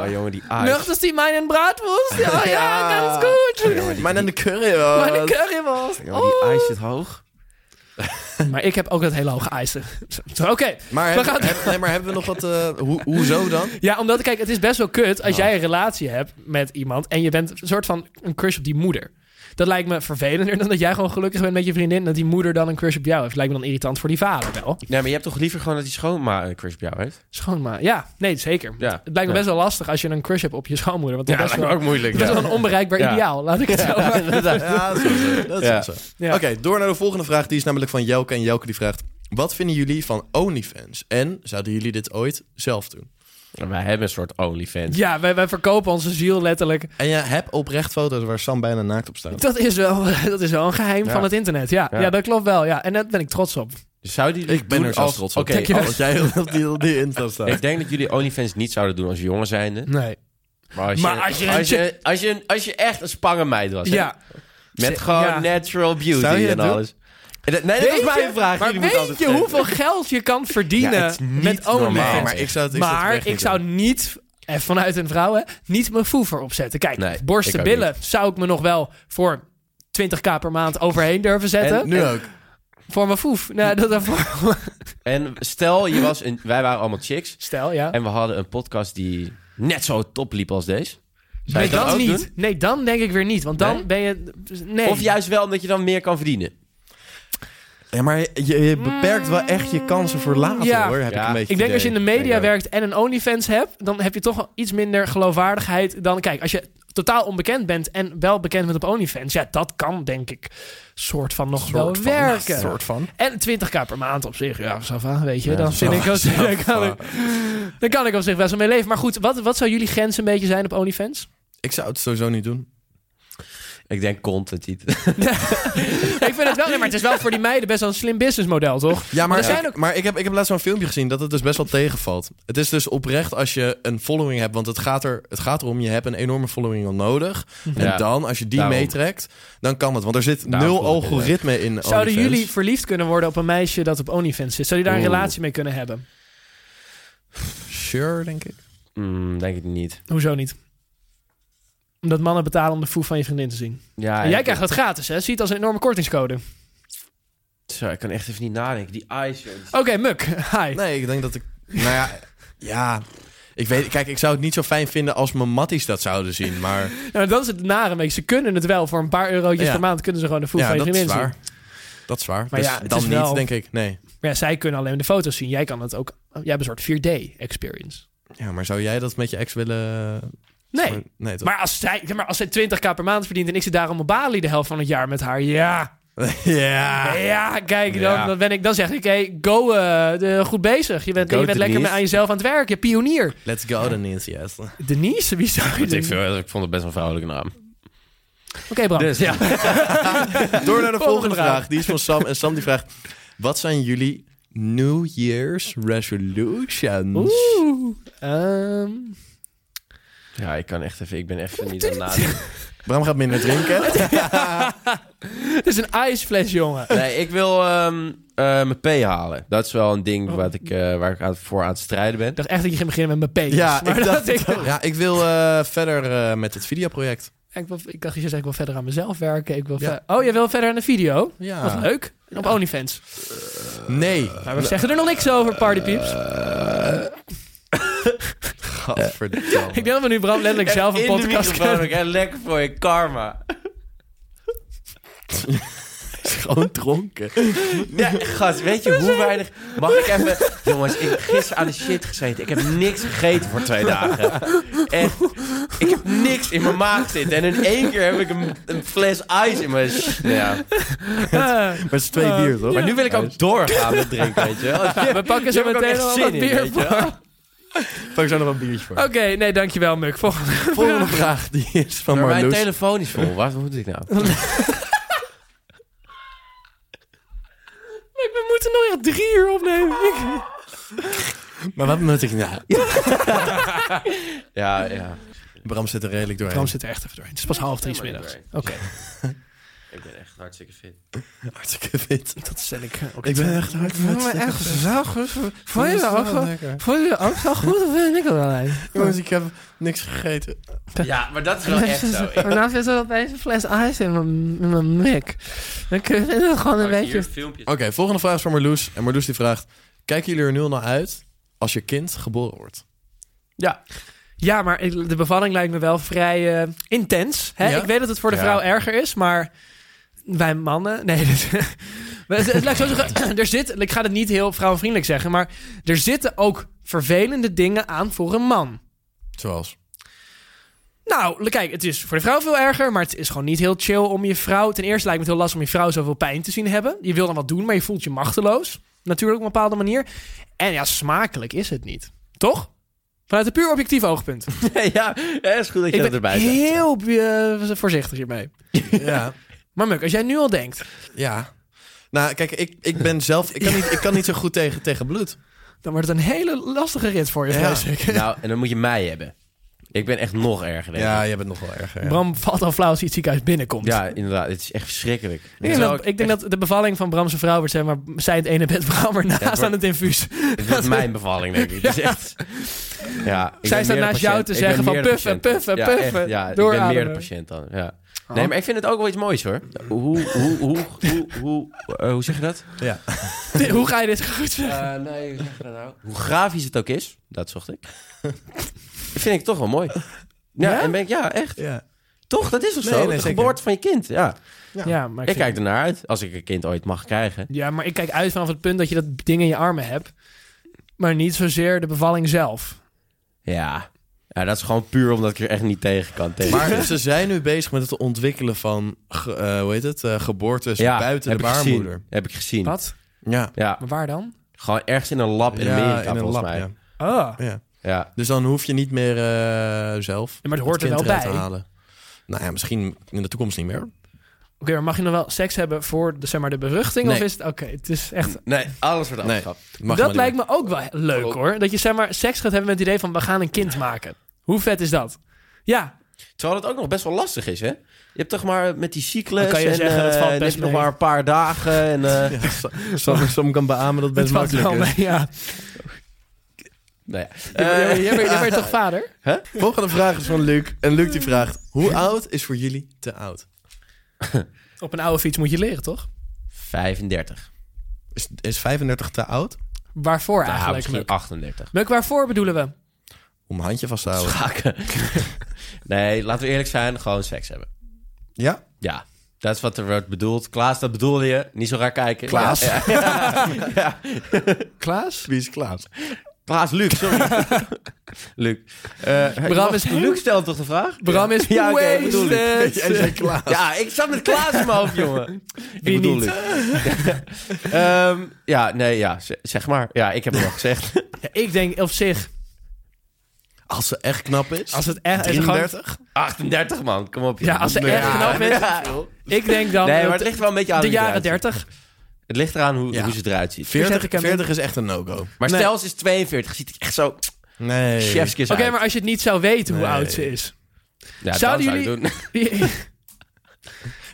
ja. Oh, jongen, die eyes. Möchtest du meinen Bratwurst? Ja, ja, ganz gut. Mijn aan de curry. Meine Currywurst. Jongen, die eyes zit hoog. Oh. Maar ik heb ook dat hele hoge eisen. Oké. Maar, We hebben- gaan- hebben- nee, maar hebben we nog wat... eh, hoe- hoezo dan? Ja, omdat, kijk, het is best wel kut Oh. als jij een relatie hebt met iemand en je bent een soort van een crush op die moeder. Dat lijkt me vervelender dan dat jij gewoon gelukkig bent met je vriendin en dat die moeder dan een crush op jou heeft. Lijkt me dan irritant voor die vader wel. Nee, maar je hebt toch liever gewoon dat die schoonma een crush op eh, jou heeft? Schoonma. Ja, nee, zeker. Ja. Het lijkt Ja. me best wel lastig als je een crush hebt op je schoonmoeder. Want dat is best wel, moeilijk. dat is wel een onbereikbaar Ja. ideaal, laat ik het zo maar. Ja, dat is wel zo. Dat is Ja. wel zo. Ja. Oké, door naar de volgende vraag. Die is namelijk van Jelke. En Jelke die vraagt... Wat vinden jullie van OnlyFans? En zouden jullie dit ooit zelf doen? Wij hebben een soort OnlyFans. Ja, wij, wij verkopen onze ziel letterlijk. En je hebt oprecht foto's waar Sam bijna naakt op staat. Dat is wel, dat is wel een geheim Ja. van het internet. Ja, ja. Ja. dat klopt wel. Ja. En daar ben ik trots op. Dus zouden jullie Ik ben doen er zelfs als- trots op. Oké, Dankjewel. Als jij op die, op die Insta staat. ik denk dat jullie OnlyFans niet zouden doen als jongen zijnde. Nee. Maar als je, Maar als je een als je, als je, als je echt een spange meid was. hè? Ja. Met gewoon Ja. natural beauty Zou je en dat doen? alles. En dat- Nee, dat Weet is je- mijn vraag. Maar jullie weet moeten je altijd hoeveel geld je kan verdienen Ja, het is niet met OnlyFans? normaal. maar ik zou het ik zou het Maar oprecht niet ik zou doen. niet, eh, vanuit een vrouw, hè, niet mijn voever opzetten. Kijk, Nee, borsten, ik ook billen zou ik me nog wel voor 20k per maand overheen durven zetten. En Nu ook. Voor mijn voef. Nou, dat dat voor... En stel, je was een, wij waren allemaal chicks. Stel, ja. En we hadden een podcast die net zo top liep als deze. Zou Nee, je dat dan ook niet. doen? Nee, dan denk ik weer niet. Want dan Nee? ben je... Nee. Of juist wel omdat je dan meer kan verdienen. Ja, maar je, je beperkt wel echt je kansen voor later Ja. hoor, heb ik Ja. een beetje Ik denk als je in de media Denk ik ook. werkt en een OnlyFans hebt, dan heb je toch wel iets minder geloofwaardigheid dan. Kijk, als je totaal onbekend bent en wel bekend bent op OnlyFans, ja, dat kan denk ik soort van nog wel werken. soort van. En 20k per maand op zich, ja, ça va, weet je. Ja, dan, ça vind ik, wel- dan, kan ik, dan kan ik op zich best wel mee leven. Maar goed, wat, wat zou jullie grens een beetje zijn op OnlyFans? Ik zou het sowieso niet doen. Ik denk content niet. ik vind het wel, nee, maar het is wel voor die meiden best wel een slim businessmodel, toch? Ja, maar, er zijn ik, ook- maar ik, heb, ik heb laatst zo'n filmpje gezien dat het dus best wel tegenvalt. Het is dus oprecht als je een following hebt, want het gaat, er, het gaat erom, je hebt een enorme following al nodig. En Mhm. Ja, dan, als je die daarom. meetrekt, dan kan het. Want er zit Daarom nul vond ik het algoritme in Zouden OnlyFans. jullie verliefd kunnen worden op een meisje dat op OnlyFans zit? Zou je daar een Oeh. relatie mee kunnen hebben? Sure, denk ik. Mm, denk ik niet. Hoezo niet? Omdat mannen betalen om de foef van je vriendin te zien. Ah, Ja, en jij ik- krijgt dat gratis, hè? Zie het als een enorme kortingscode. Oké, Zo, ik kan echt even niet nadenken. Die eyes, joh. Muk. Hi. Nee, ik denk dat ik... Nou ja, ja... Ik weet, kijk, ik zou het niet zo fijn vinden als mijn matties dat zouden zien, maar... Nou, dat is het nare een beetje. Ze kunnen het wel. Voor een paar eurotjes Ja. per maand kunnen ze gewoon de foef Ja, van je dat is vriendin waar. zien. Dat is waar. Maar dus ja, het dan is niet, wel- denk ik. Nee. oh, Maar ja, zij kunnen alleen de foto's zien. Jij kan het ook... Jij hebt een soort 4D-experience. Ja, maar zou jij dat met je ex willen? Nee. Nee, toch? Maar als, zij, ja, maar als zij 20k per maand verdient en ik zit daarom op Bali de helft van het jaar met haar, ja. ja. Ja, kijk, dan, Ja. dan, ben ik, dan zeg ik, hey, go, eh, de- goed bezig. Je bent, Go, je bent lekker Denise. aan jezelf aan het werken, pionier. Let's go, dan is yes. Oké, Denise, wie zou je Weet ik, doen? Oké, veel, ik vond het best een vrouwelijke naam. Bram. Dus ja. Door naar de volgende Volgende vraag. vraag. Die is van Sam. En Sam die vraagt: Wat zijn jullie New Year's resolutions? Oeh. ehm, ja, ik kan echt even... Ik ben echt niet aan het nadenken. Bram gaat minder drinken. het is een ijsfles, jongen. Nee, ik wil ehm, eh, mijn P halen. Dat is wel een ding Oh. wat ik, eh, waar ik aan, voor aan het strijden ben. Ik dacht echt dat je ging beginnen met mijn penis. ja, maar ik dat dacht, het ook. ja, ik wil eh, verder eh, met het videoproject. Ik, wil- ik dacht, je zegt, ik wil verder aan mezelf werken. Ik wil Ja. Ah. ver- Oh, je wil verder aan de video? Ja. Wat leuk. Op OnlyFans. Nee. Maar we zeggen er nog niks over, Eh. partypieps. Gadverdamme. ik denk dat we nu Bram letterlijk zelf een podcast kunnen. en lekker voor je karma. gewoon dronken. Ja, gast, weet je hoe weinig... Mag ik even... Jongens, ik heb gisteren aan de shit gezeten. Ik heb niks gegeten voor twee dagen. En ik heb niks in mijn maag zitten. En in één keer heb ik een, een fles ijs in mijn... Ja. Ah. Maar het is twee bier, toch? Maar nu wil ik dus- ook doorgaan met drinken, weet je wel. Ja, we pakken zo Hier heb ik ook meteen echt al zin wat in, bier weet je voor. wel. Oké, Pak ik zo nog een biertje voor. nee, dankjewel, Muk. Volgende. Volgende vraag, die is van Maar mijn Marloes. telefoon is vol. Wat moet ik nou? Muk, we moeten nog echt drie uur opnemen. Ik- Maar wat moet ik nou? Ja, ja. Bram zit er redelijk doorheen. Bram zit er echt even doorheen. Het is pas half drie 's Helemaal middags. Oké, niet Ik ben echt hartstikke fit. hartstikke fit. dat stel ik eh, ook. Ik ben echt hard echt zo goed. Vond je dat ook wel- Vond je ook zo goed of vind ik het alleen? Jongens, ik heb niks gegeten. Ja, maar dat is wel echt zo. Ik Daarna zit er opeens een fles ijs in mijn, in mijn mik. Dan kun je het gewoon een maak hier beetje... filmpjes. Oké, volgende vraag is van Marloes. En Marloes die vraagt... Kijken jullie er nu al naar uit als je kind geboren wordt? Ja, maar ik- de bevalling lijkt me wel vrij eh, intens. Hè? Ja? Ik weet dat het voor de Ja. vrouw erger is, maar wij mannen... Nee, dit, Maar het, het lijkt zo zeggen, er zit, ik ga het niet heel vrouwenvriendelijk zeggen, maar er zitten ook vervelende dingen aan voor een man. Zoals? Nou, kijk, het is voor de vrouw veel erger, maar het is gewoon niet heel chill om je vrouw... Ten eerste lijkt me het heel lastig om je vrouw zoveel pijn te zien hebben. Je wil dan wat doen, maar je voelt je machteloos. Natuurlijk op een bepaalde manier. En ja, smakelijk is het niet. Toch? Vanuit een puur objectief oogpunt. ja, ja, is goed dat je dat Ik ben erbij zegt. heel eh, voorzichtig hiermee. Ja. Maar Muk, als jij nu al denkt... Ja. Nou, kijk, ik, ik ben zelf... Ik kan niet, ik kan niet zo goed tegen, tegen bloed. dan wordt het een hele lastige rit voor je, Ja. vrees ik. Nou, en dan moet je mij hebben. Ik ben echt nog erger, denk ik. Ja, jij bent nog wel erger. ja. Bram valt al flauw als hij het ziekenhuis binnenkomt. Ja, inderdaad. Het is echt verschrikkelijk. Ik denk, Terwijl dat, ik denk dat de bevalling van Bram's vrouw wordt, zeg maar, zij het ene bed, Bram ernaast wordt- aan het infuus. Het is mijn bevalling, denk ik. Het is echt... Ja, ik Zij ben staat meer de naast jou patiënt. te Ik zeggen ben van meer de puffen, patiënt. puffen, ja, puffen. Oh. Echt, ja, ik ben meer Doorademen. de patiënt dan. Ja. Nee, maar ik vind het ook wel iets moois, hoor. Hoe, hoe, hoe, hoe, hoe, eh, hoe zeg je dat? Ja. Hoe ga je dit goed zeggen? nee, hoe zeg je dat nou? Hoe grafisch het ook is, dat zocht ik. vind ik toch wel mooi. Ja, Ja? en ben ik, ja, echt. ja. Toch, dat is toch Nee, zo? nee, de zeker. geboorte van je kind, ja. Ja, maar Ik vind- kijk ernaar uit, als ik een kind ooit mag krijgen. Ja, maar ik kijk uit vanaf het punt dat je dat ding in je armen hebt. Maar niet zozeer de bevalling zelf. Ja. ja, dat is gewoon puur omdat ik er echt niet tegen kan. Tegen. Maar ze zijn nu bezig met het ontwikkelen van... ge- eh, hoe heet het? eh, geboortes ja, buiten de heb ik gezien. baarmoeder. Heb ik gezien. Wat? Ja. Ja, Maar waar dan? gewoon ergens in een lab in Ja, Amerika, in een volgens lab, mij. ja. Ja. Ah. Ja. Dus dan hoef je niet meer eh, zelf. Ja, maar het hoort er kind wel eruit bij. te halen. Nou ja, misschien in de toekomst niet meer. Oké, maar mag je nog wel seks hebben voor de, zeg maar, de beruchting? Of Nee. is het... Oké, het is echt... Nee, alles wordt Nee. afgeschaft. Mag dat maar lijkt me ook wel he- leuk hoor. Dat je zeg maar seks gaat hebben met het idee van we gaan een kind maken. Hoe vet is dat? Ja, Terwijl het ook nog best wel lastig is, hè? Je hebt toch maar met die cyclus Dan kan je en zeggen, eh, dat valt dan best heb je nog mee. maar een paar dagen. En, eh, niet. Sam, Sam kan beamen dat het dat best valt wel makkelijk is. mee. Ja. nou ja. Jij bent- Eh, jij bent- jij bent toch vader? Volgende vraag is van Luc. En Luc die vraagt, hoe oud is voor jullie te oud? Op een oude fiets moet je leren, toch? 35. Is, is 35 te oud? Waarvoor Nou, eigenlijk? misschien Muk? 38. Muk, waarvoor bedoelen we? Om een handje vast te houden. Schaken. nee, laten we eerlijk zijn, gewoon seks hebben. Ja? Ja, dat is wat er wordt bedoeld. Klaas, dat bedoelde je. Niet zo raar kijken. Klaas? Ja, ja. Klaas? Wie is Klaas? Klaas Luc, sorry. Luc. Eh, Bram is- Luc stelt toch de vraag? Bram is Ja, oké, dat bedoel ik. wasted. Ja, ik zat met Klaas in mijn hoofd, jongen. Wie ik bedoel niet? Luc. Ehm, ja, nee, ja, z- zeg maar. Ja, ik heb het al gezegd. Ja, ik denk op zich, Als ze echt knap is. als het echt... is het gewoon- 33? 38, man. Kom op. Ja, als ze echt knap is. Ik denk dan Nee, maar dat het ligt wel een beetje aan de hoe ze jaren eruit ziet. 30. Het ligt eraan hoe, Ja. hoe ze eruit ziet. 40, ik hem 40 is echt een no-go. Maar Nee. stel, ze is 42. Ziet er echt zo Nee. chefskis Oké, uit. maar als je het niet zou weten hoe Nee. oud ze is. Ja, dat Zouden zou ik jullie- doen.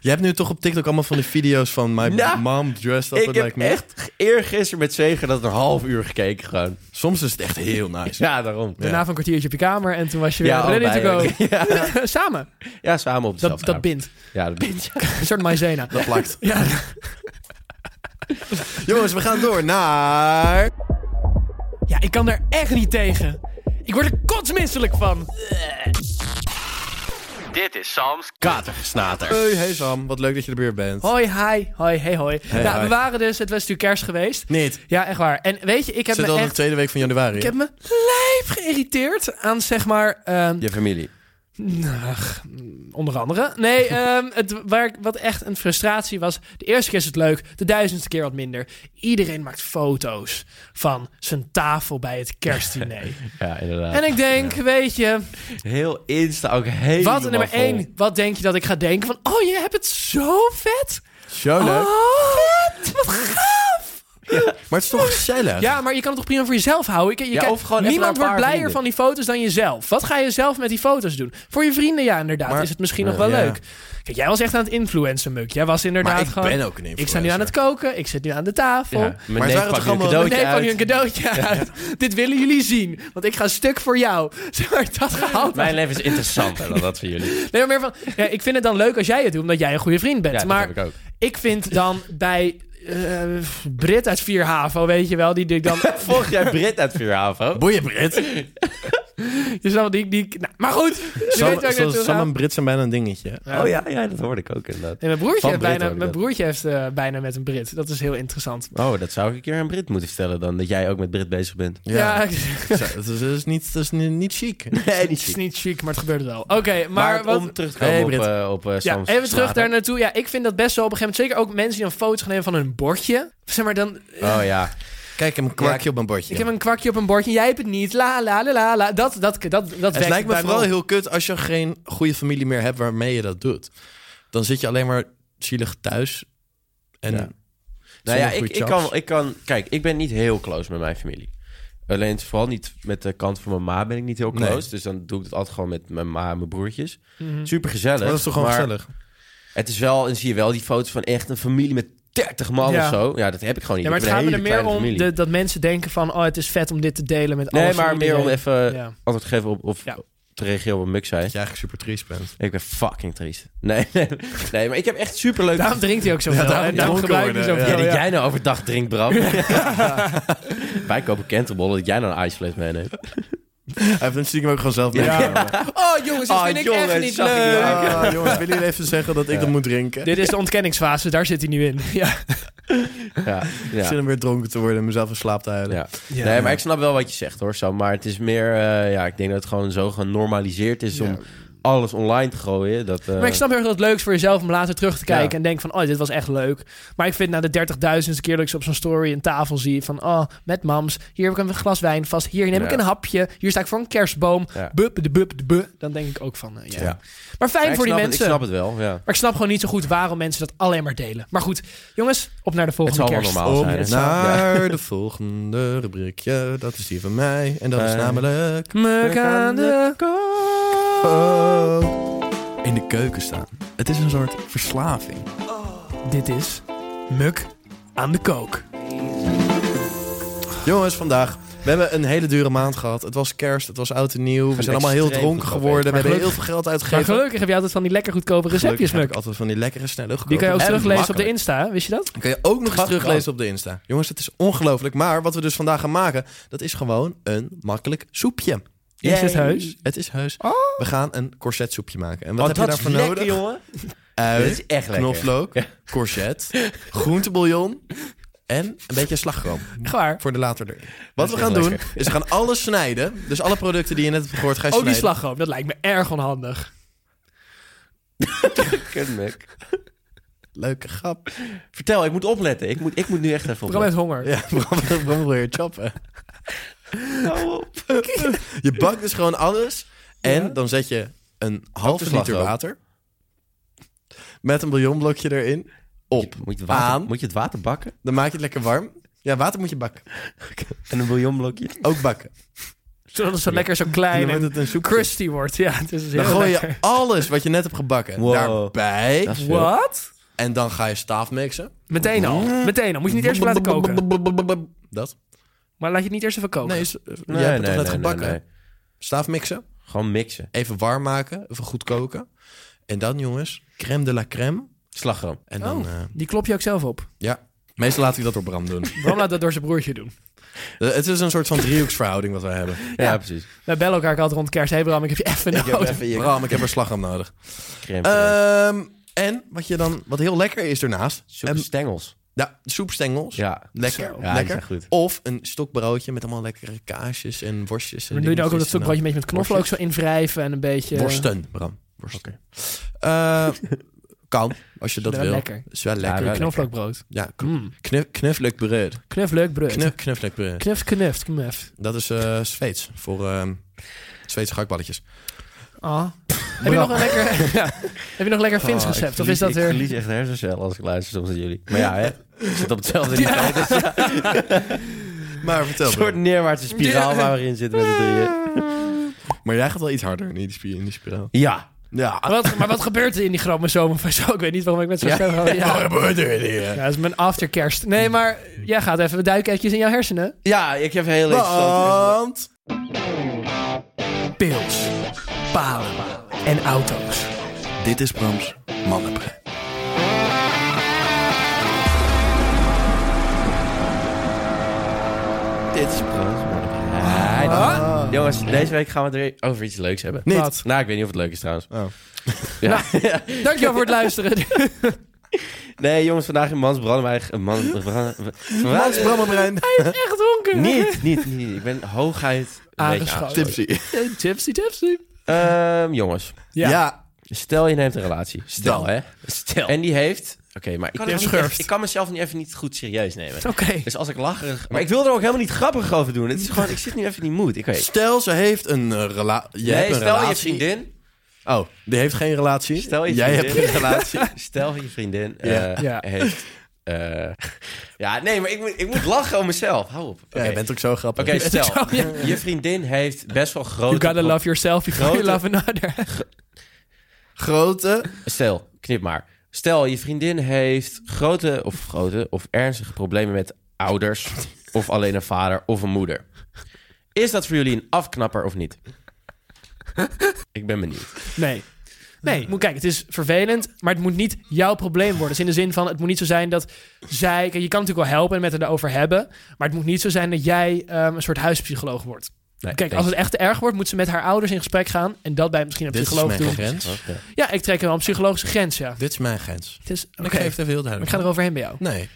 Je hebt nu toch op TikTok allemaal van die video's van my Nou, mom dressed up Ik heb like me. echt eergisteren met Zeger dat een half uur gekeken gewoon. Soms is het echt heel nice. Ja, daarom. Daarna van een kwartiertje op je kamer en toen was je weer Ja, ready to allebei, go. Samen. Ja, samen op Dat, dezelfde dat avond. bindt. Ja, dat bindt. ja. Een soort maizena. Dat plakt. Ja. Jongens, we gaan door naar... ja, ik kan daar echt niet tegen. Ik word er kotsmisselijk van. Dit is Sam's Katergesnater. Hey, hey Sam, wat leuk dat je er weer bent. Hoi, hi. Hoi, hey, hoi. nou, we hoi. waren dus, het was natuurlijk kerst geweest. Niet. Ja, echt waar. En weet je, ik heb Zit me al in de echt... tweede week van januari. Ik heb me lijf geïrriteerd aan, zeg maar... ehm, Je familie. Ach, mm, onder andere. Nee, ehm, het, waar, ik- wat echt een frustratie was. De eerste keer is het leuk, de duizendste keer wat minder. Iedereen maakt foto's van zijn tafel bij het kerstdiner. Ja, inderdaad. en ik denk, weet je, Heel Insta ook helemaal wat nummer vol. één, wat denk je dat ik ga denken? Van, oh, je hebt het zo vet. Zo Oh, leuk. vet, wat gaaf. Maar het is toch gezellig? Ja, maar je kan het toch prima voor jezelf houden? Ik, je Ja, kan- of gewoon even niemand naar een wordt paar blijer vrienden. van die foto's dan jezelf. Wat ga je zelf met die foto's doen? Voor je vrienden, ja, inderdaad. Maar- is het misschien nog wel Ja. leuk. Kijk, jij was echt aan het influencen, Muk. Jij was inderdaad maar ik gewoon... ben ook een influencer. Ik sta nu aan het koken, ik zit nu aan de tafel. Ja, Maar maar het neef waren pakt toch nu een allemaal- cadeautje Nee, van uit. nu een cadeautje uit. Dit willen jullie zien, want ik ga stuk voor jou. Zeg maar, dat gehaald. Mijn leven is interessanter dan dat van jullie. Ja, Nee, maar meer van, ja, ik vind het dan leuk als jij het doet, omdat jij een goede vriend bent. dat maar heb ik ook. ik vind dan bij eh, Brit uit Vierhaven, weet je wel, die die ik dan... Volg jij Brit uit Vierhavo? Boeien Brit. Je zal die, die, nou, maar goed, je Sam, weet waar ik Sam, naartoe Sam ga. en Brit zijn bijna een dingetje. Oh ja, ja, dat hoorde ik ook inderdaad. Nee, mijn broertje, Van heeft, Brit bijna, hoor ik mijn dat. broertje heeft eh, bijna met een Brit. Dat is heel interessant. Oh, dat zou ik een keer aan Brit moeten stellen dan, dat jij ook met Brit bezig bent. Ja, Oh, Ja. Zo, Dat is, dat is niet, dat is niet, niet chic. Nee, niet het is niet chic, maar het gebeurt wel. Oké, maar Maar, wat, om terug te komen Hey, op, Brit. eh, op eh, Ja, Sam's even terug Snater. daar naartoe. Ja, ik vind dat best wel op een gegeven moment. Zeker ook mensen die dan foto's gaan nemen van hun bordje. Zeg maar dan. Oh ja. Kijk, hem een kwarkje op mijn bordje. Ik heb een kwakje op een bordje. Jij hebt het niet. La la la la. la. Dat, dat, dat, dat het werkt lijkt me bij vooral op. heel kut als je geen goede familie meer hebt waarmee je dat doet. Dan zit je alleen maar zielig thuis. En Ja. Nou zonder ja, ik, goede ik, chaps. kan, ik kan... Kijk, ik ben niet heel close met mijn familie. Alleen vooral niet met de kant van mijn ma ben ik niet heel Nee. close. Dus dan doe ik het altijd gewoon met mijn ma en mijn broertjes. Mhm. Super gezellig. Maar dat is toch gewoon maar gezellig? Het is wel, en zie je wel, die foto's van echt een familie met 30 man Ja. of zo. Ja, dat heb ik gewoon niet. Ja, maar Ik het heb gaat een me er hele meer kleine om familie. de, dat mensen denken van... oh, het is vet om dit te delen met Nee, alles en maar meer om iedereen. even eh, Ja. antwoord te geven op, op Ja. te reageren op wat Muk zei. Dat je eigenlijk super triest bent. Ik ben fucking triest. Nee, nee, nee, maar ik heb echt super leuk. Daarom drinkt hij ook zoveel. Ja, daarom en daarom dronken gebruikt hij worden, zoveel. dat Ja, jij nou overdag drinkt, Bram. Wij kopen kenterbollen, dat jij nou een ijsfles meeneemt. Hij heeft een stiekem ook gewoon zelf mee. Oh jongens, dat Ah, vind ik echt jongens, niet zag ik leuk. nou. jongens, willen jullie even zeggen dat ik dat moet drinken? Dit is de ontkenningsfase, daar zit hij nu in. Ja. Ja, Ik zit ja. hem weer dronken te worden en mezelf in slaap te huilen. ja. Nee, maar ik snap wel wat je zegt hoor, Sam. Maar het is meer, eh, ja, ik denk dat het gewoon zo genormaliseerd is om alles online te gooien. Dat, eh, Maar ik snap heel erg dat het leuk is voor jezelf om later terug te kijken Ja. en denk van, oh, dit was echt leuk. Maar ik vind na de 30.000ste keer dat ik ze op zo'n story een tafel zie van, oh, met mams, hier heb ik een glas wijn vast, hier neem ik Ja. een hapje, hier sta ik voor een kerstboom, Ja. bup, de bup, de bup. Dan denk ik ook van, eh, ja. Ja. Maar fijn maar ik voor die snap het, mensen. Ik snap het wel, ja. Maar ik snap gewoon niet zo goed waarom mensen dat alleen maar delen. Maar goed, jongens, op naar de Het volgende zal wel kerst. normaal zijn. hè? Naar de volgende rubriekje, dat is die van mij. En dat is Eh. namelijk... Muk aan de In de keuken staan. Het is een soort verslaving. Dit is Muk aan de kook. Jongens, vandaag. We hebben een hele dure maand gehad. Het was kerst, het was oud en nieuw. We zijn allemaal heel extreem dronken goedkoop geworden. We eten. hebben Maar heel veel geld Maar uitgegeven. gelukkig heb je altijd van die lekker goedkope Gelukkig receptjes, heb Muk. ik altijd van die lekkere, snelle, Die kan je ook goedkope- en teruglezen op de makkelijk. Insta, wist je dat? Kun je ook nog eens Gast, teruglezen op de Insta. Jongens, het is ongelooflijk. Maar wat we dus vandaag gaan maken, dat is gewoon een makkelijk soepje. Is het huis? Het is heus. We gaan een corsetsoepje maken. En wat Oh, heb dat je daarvoor is lekker, nodig? jongen. Ui, Dit is echt lekker. knoflook, corset, groentebouillon en een beetje slagroom. Mm. Echt waar? Voor de later erin. Wat we is gaan echt doen, lekker. is we gaan alles snijden. Dus alle producten die je net hebt gehoord, ga je Oh, die snijden. slagroom. Dat lijkt me erg onhandig. Kutmek. Leuke grap. Vertel, ik moet opletten. Ik moet, ik moet nu echt even Vooral met opletten. honger. Ja, waarom waarom wil je choppen? Je bakt dus gewoon alles. En dan zet je een halve liter slagroom. water. Met een bouillonblokje erin. Op. Moet je, het water, Aan. moet je het water bakken? Dan maak je het lekker warm. Ja, water moet je bakken. En een bouillonblokje? Ook bakken. Zodat het zo lekker zo En klein dan wordt en het een soep. crusty wordt. Ja, het is dus Dan heel gooi lekker. je alles wat je net hebt gebakken Wow. daarbij. Dat is veel. Wat? En dan ga je staafmixen. Meteen al. Meteen al. Moet je niet eerst even laten koken. Dat? Maar laat je het niet eerst even koken. Nee, is, jij hebt het toch net gebakken? nee, nee. Staafmixen. Gewoon mixen. Even warm maken. Even goed koken. En dan, jongens, crème de la crème. Slagroom. En dan, eh, Die klop je ook zelf op. ja. Meestal laat ik dat door Bram doen. Bram laat dat door zijn broertje doen. Eh, Het is een soort van driehoeksverhouding wat wij hebben. Ja, precies. Wij bellen elkaar ook altijd rond kerst. Hey Bram, ik heb je even nodig. Bram, ik heb er slagroom nodig. Crème. Ehm, en wat, je dan, wat heel lekker is daarnaast... Zoeken ehm, stengels. ja, soepstengels. Ja. Lekker, Ja, die zijn lekker. goed. Of een stokbroodje met allemaal lekkere kaasjes en worstjes. En Maar doe je dan ook eh? op dat dingetjes stuk en broodje een beetje met knoflook zo invrijven en een beetje... Worsten, Bram. Worsten. Eh, kan, als je dat wel wil. lekker. Is wel lekker. wel Ja, Knoflookbrood. kn- Mm. knuf, knufleuk breud. Knuf leuk brood. Knuf, knufleuk breud. Knuf, knuf, knuf. Dat is eh, Zweeds. Voor ehm Zweedse gehaktballetjes. Ah. Heb je nog een lekker... Ja. Heb je nog lekker Ah, Fins Oh, ik recept? Of verlies- is dat Ik weer... verlies echt hersencellen als ik luister soms naar jullie. Maar ja, hè. Ik zit op hetzelfde Ja. niveau. Dus Maar vertel Een soort neerwaartse spiraal waar we in zitten met z'n drieën. Maar jij gaat wel iets harder in die, spi- in die spiraal. Ja. Ja. Wat, maar wat gebeurt er in die chromosomen van zo? Ik weet niet waarom ik met zo'n stem hou. Ja. Ja. Ja, dat is mijn afterkerst. Nee, maar jij gaat even duiken eventjes in jouw hersenen. Ja, ik heb heel Oh. interessant. Want... Pils, palen en auto's. Dit is Brams Mannenbrein. Dit is Frans Ah, Mordechai. Ah. Jongens, deze week gaan we het weer over iets leuks hebben. Niet. Wat? Nou, ik weet niet of het leuk is trouwens. Oh. Ja. Nou. Dankjewel voor het luisteren. Nee, jongens, vandaag in Mans Brandewijk. Mans Brams Mannenbrein. Echt donker. Niet, niet, niet. Ik ben hooguit een beetje Aangeschoten. aangeschoten. Tipsy. Eh, Tipsy, tipsy. Ehm, jongens, Ja. stel je neemt een relatie. Stel, Dan. hè. Stel. En die heeft... Oké, maar ik Kan kan, het niet schurft. echt- ik kan mezelf nu even niet goed serieus nemen. Oké. Dus als ik lacherig... Maar ik wil er ook helemaal niet grappig over doen. Het is gewoon... Ik zit nu even in die mood. Ik weet... Stel, ze heeft een relatie. Nee, hebt een stel je relatie. vriendin. Oh, die heeft geen relatie. Stel je Jij hebt vriendin. geen relatie. Stel je vriendin eh, Ja. Ja. heeft... eh, ja, nee, maar ik moet, ik moet lachen om mezelf. Hou op. Oké, Ja, je bent ook zo grappig. Oké, stel. Je vriendin heeft best wel grote... You gotta love yourself before you love Grote- another. Grote. Stel, knip maar. Stel, je vriendin heeft grote of grote of ernstige problemen met ouders... of alleen een vader of een moeder. Is dat voor jullie een afknapper of niet? Ik ben benieuwd. Nee. Nee, moet, kijk, het is vervelend, maar het moet niet jouw probleem worden. Dus in de zin van, het moet niet zo zijn dat zij... Kijk, je kan natuurlijk wel helpen en met het erover hebben... maar het moet niet zo zijn dat jij ehm, een soort huispsycholoog wordt. Nee, Kijk, als het echt te erg wordt, moet ze met haar ouders in gesprek gaan... en dat bij misschien een Dit is psycholoog mijn doen. grens. Oké. Ja, ik trek wel een psychologische grens, ja. Dit is mijn grens. Het is, En Ik oké, geef het even maar heel ik duidelijk. ga er overheen bij jou. Nee.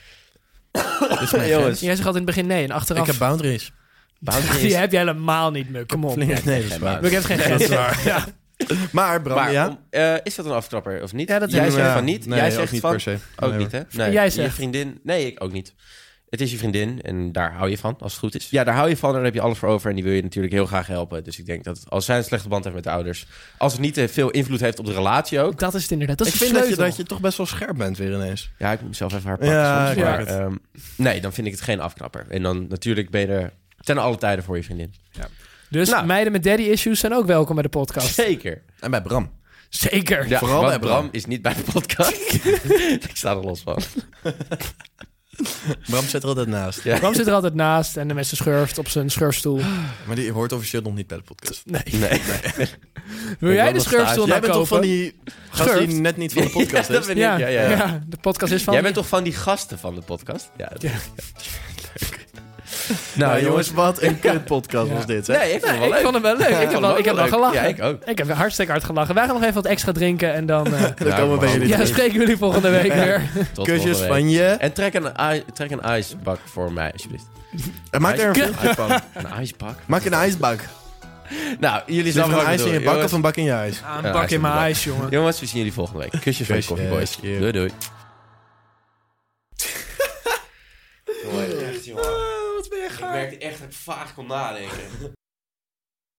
Dit is mijn grens. Jongens, Jij zegt altijd in het begin nee en achteraf... Ik heb boundaries. boundaries. Die heb je helemaal niet meer, kom op. Nee, dat is geen waar. Ik heb geen grens. Ja. Maar Bram, maar ja? om- eh, is dat een afknapper of niet? Ja, dat- jij Ja, zegt ja. van niet. Nee, jij ook zegt niet van per se. ook Nee, niet, hè? Nee. Jij zegt. Je vriendin. Nee, ik ook niet. Het is je vriendin en daar hou je van, als het goed is. Ja, daar hou je van en daar heb je alles voor over. En die wil je natuurlijk heel graag helpen. Dus ik denk dat als zij een slechte band heeft met de ouders... als het niet eh, veel invloed heeft op de relatie ook... Dat is het inderdaad. Dat is ik de vind dat je, sleutel. dat je toch best wel scherp bent weer ineens. Ja, ik moet mezelf even haar pakken Ja, soms. ik Maar, merk ehm, nee, dan vind ik het geen afknapper. En dan natuurlijk ben je er ten alle tijden voor je vriendin. Dus Nou. meiden met daddy issues zijn ook welkom bij de podcast. Zeker. En bij Bram. Zeker. Ja, Vooral want bij Bram. Bram is niet bij de podcast. ik sta er los van. Bram zit er altijd naast. Ja. Bram zit er altijd naast en de mensen schurft op zijn schurfstoel. Maar die hoort officieel nog niet bij de podcast. Nee. Nee. Wil jij de schurfstoel Jij nou bent kopen? toch van die gast die Schurft. net niet van de podcast dat is? ben ik. Ja, Ja, ja, ja. ja, de podcast is van... Jij bent toch van die gasten van de podcast? Ja. dat- Ja. Leuk. Nou, jongens. wat een kut podcast was dit. Hè? Nee, ik vond het wel ik leuk. vond het wel leuk. Ja, ik heb vond wel, het ik heb wel leuk. gelachen. Ja, ik ook. Ik heb hartstikke hard gelachen. Wij gaan nog even wat extra drinken en dan eh, Dan komen we bij jullie ja, terug. spreken we jullie volgende week weer. Tot Kusjes volgende week. van je. En trek een, ij- trek een ijsbak voor mij, alsjeblieft. En maak er een Ijsbak. filmpje van. Een ijsbak? Maak een ijsbak. Nou, jullie Is dat zijn een ijs in je bak of een bak in je ijs? Ah, Ja, een pak hij in mijn zit erbij. ijs, jongen. Jongens, we zien jullie volgende week. Kusjes van je Kusjes. Coffee Boys. Yeah. Doei, doei. Mooi, echt, jongen. Ik Oh, merk echt dat ik vaag kon nadenken.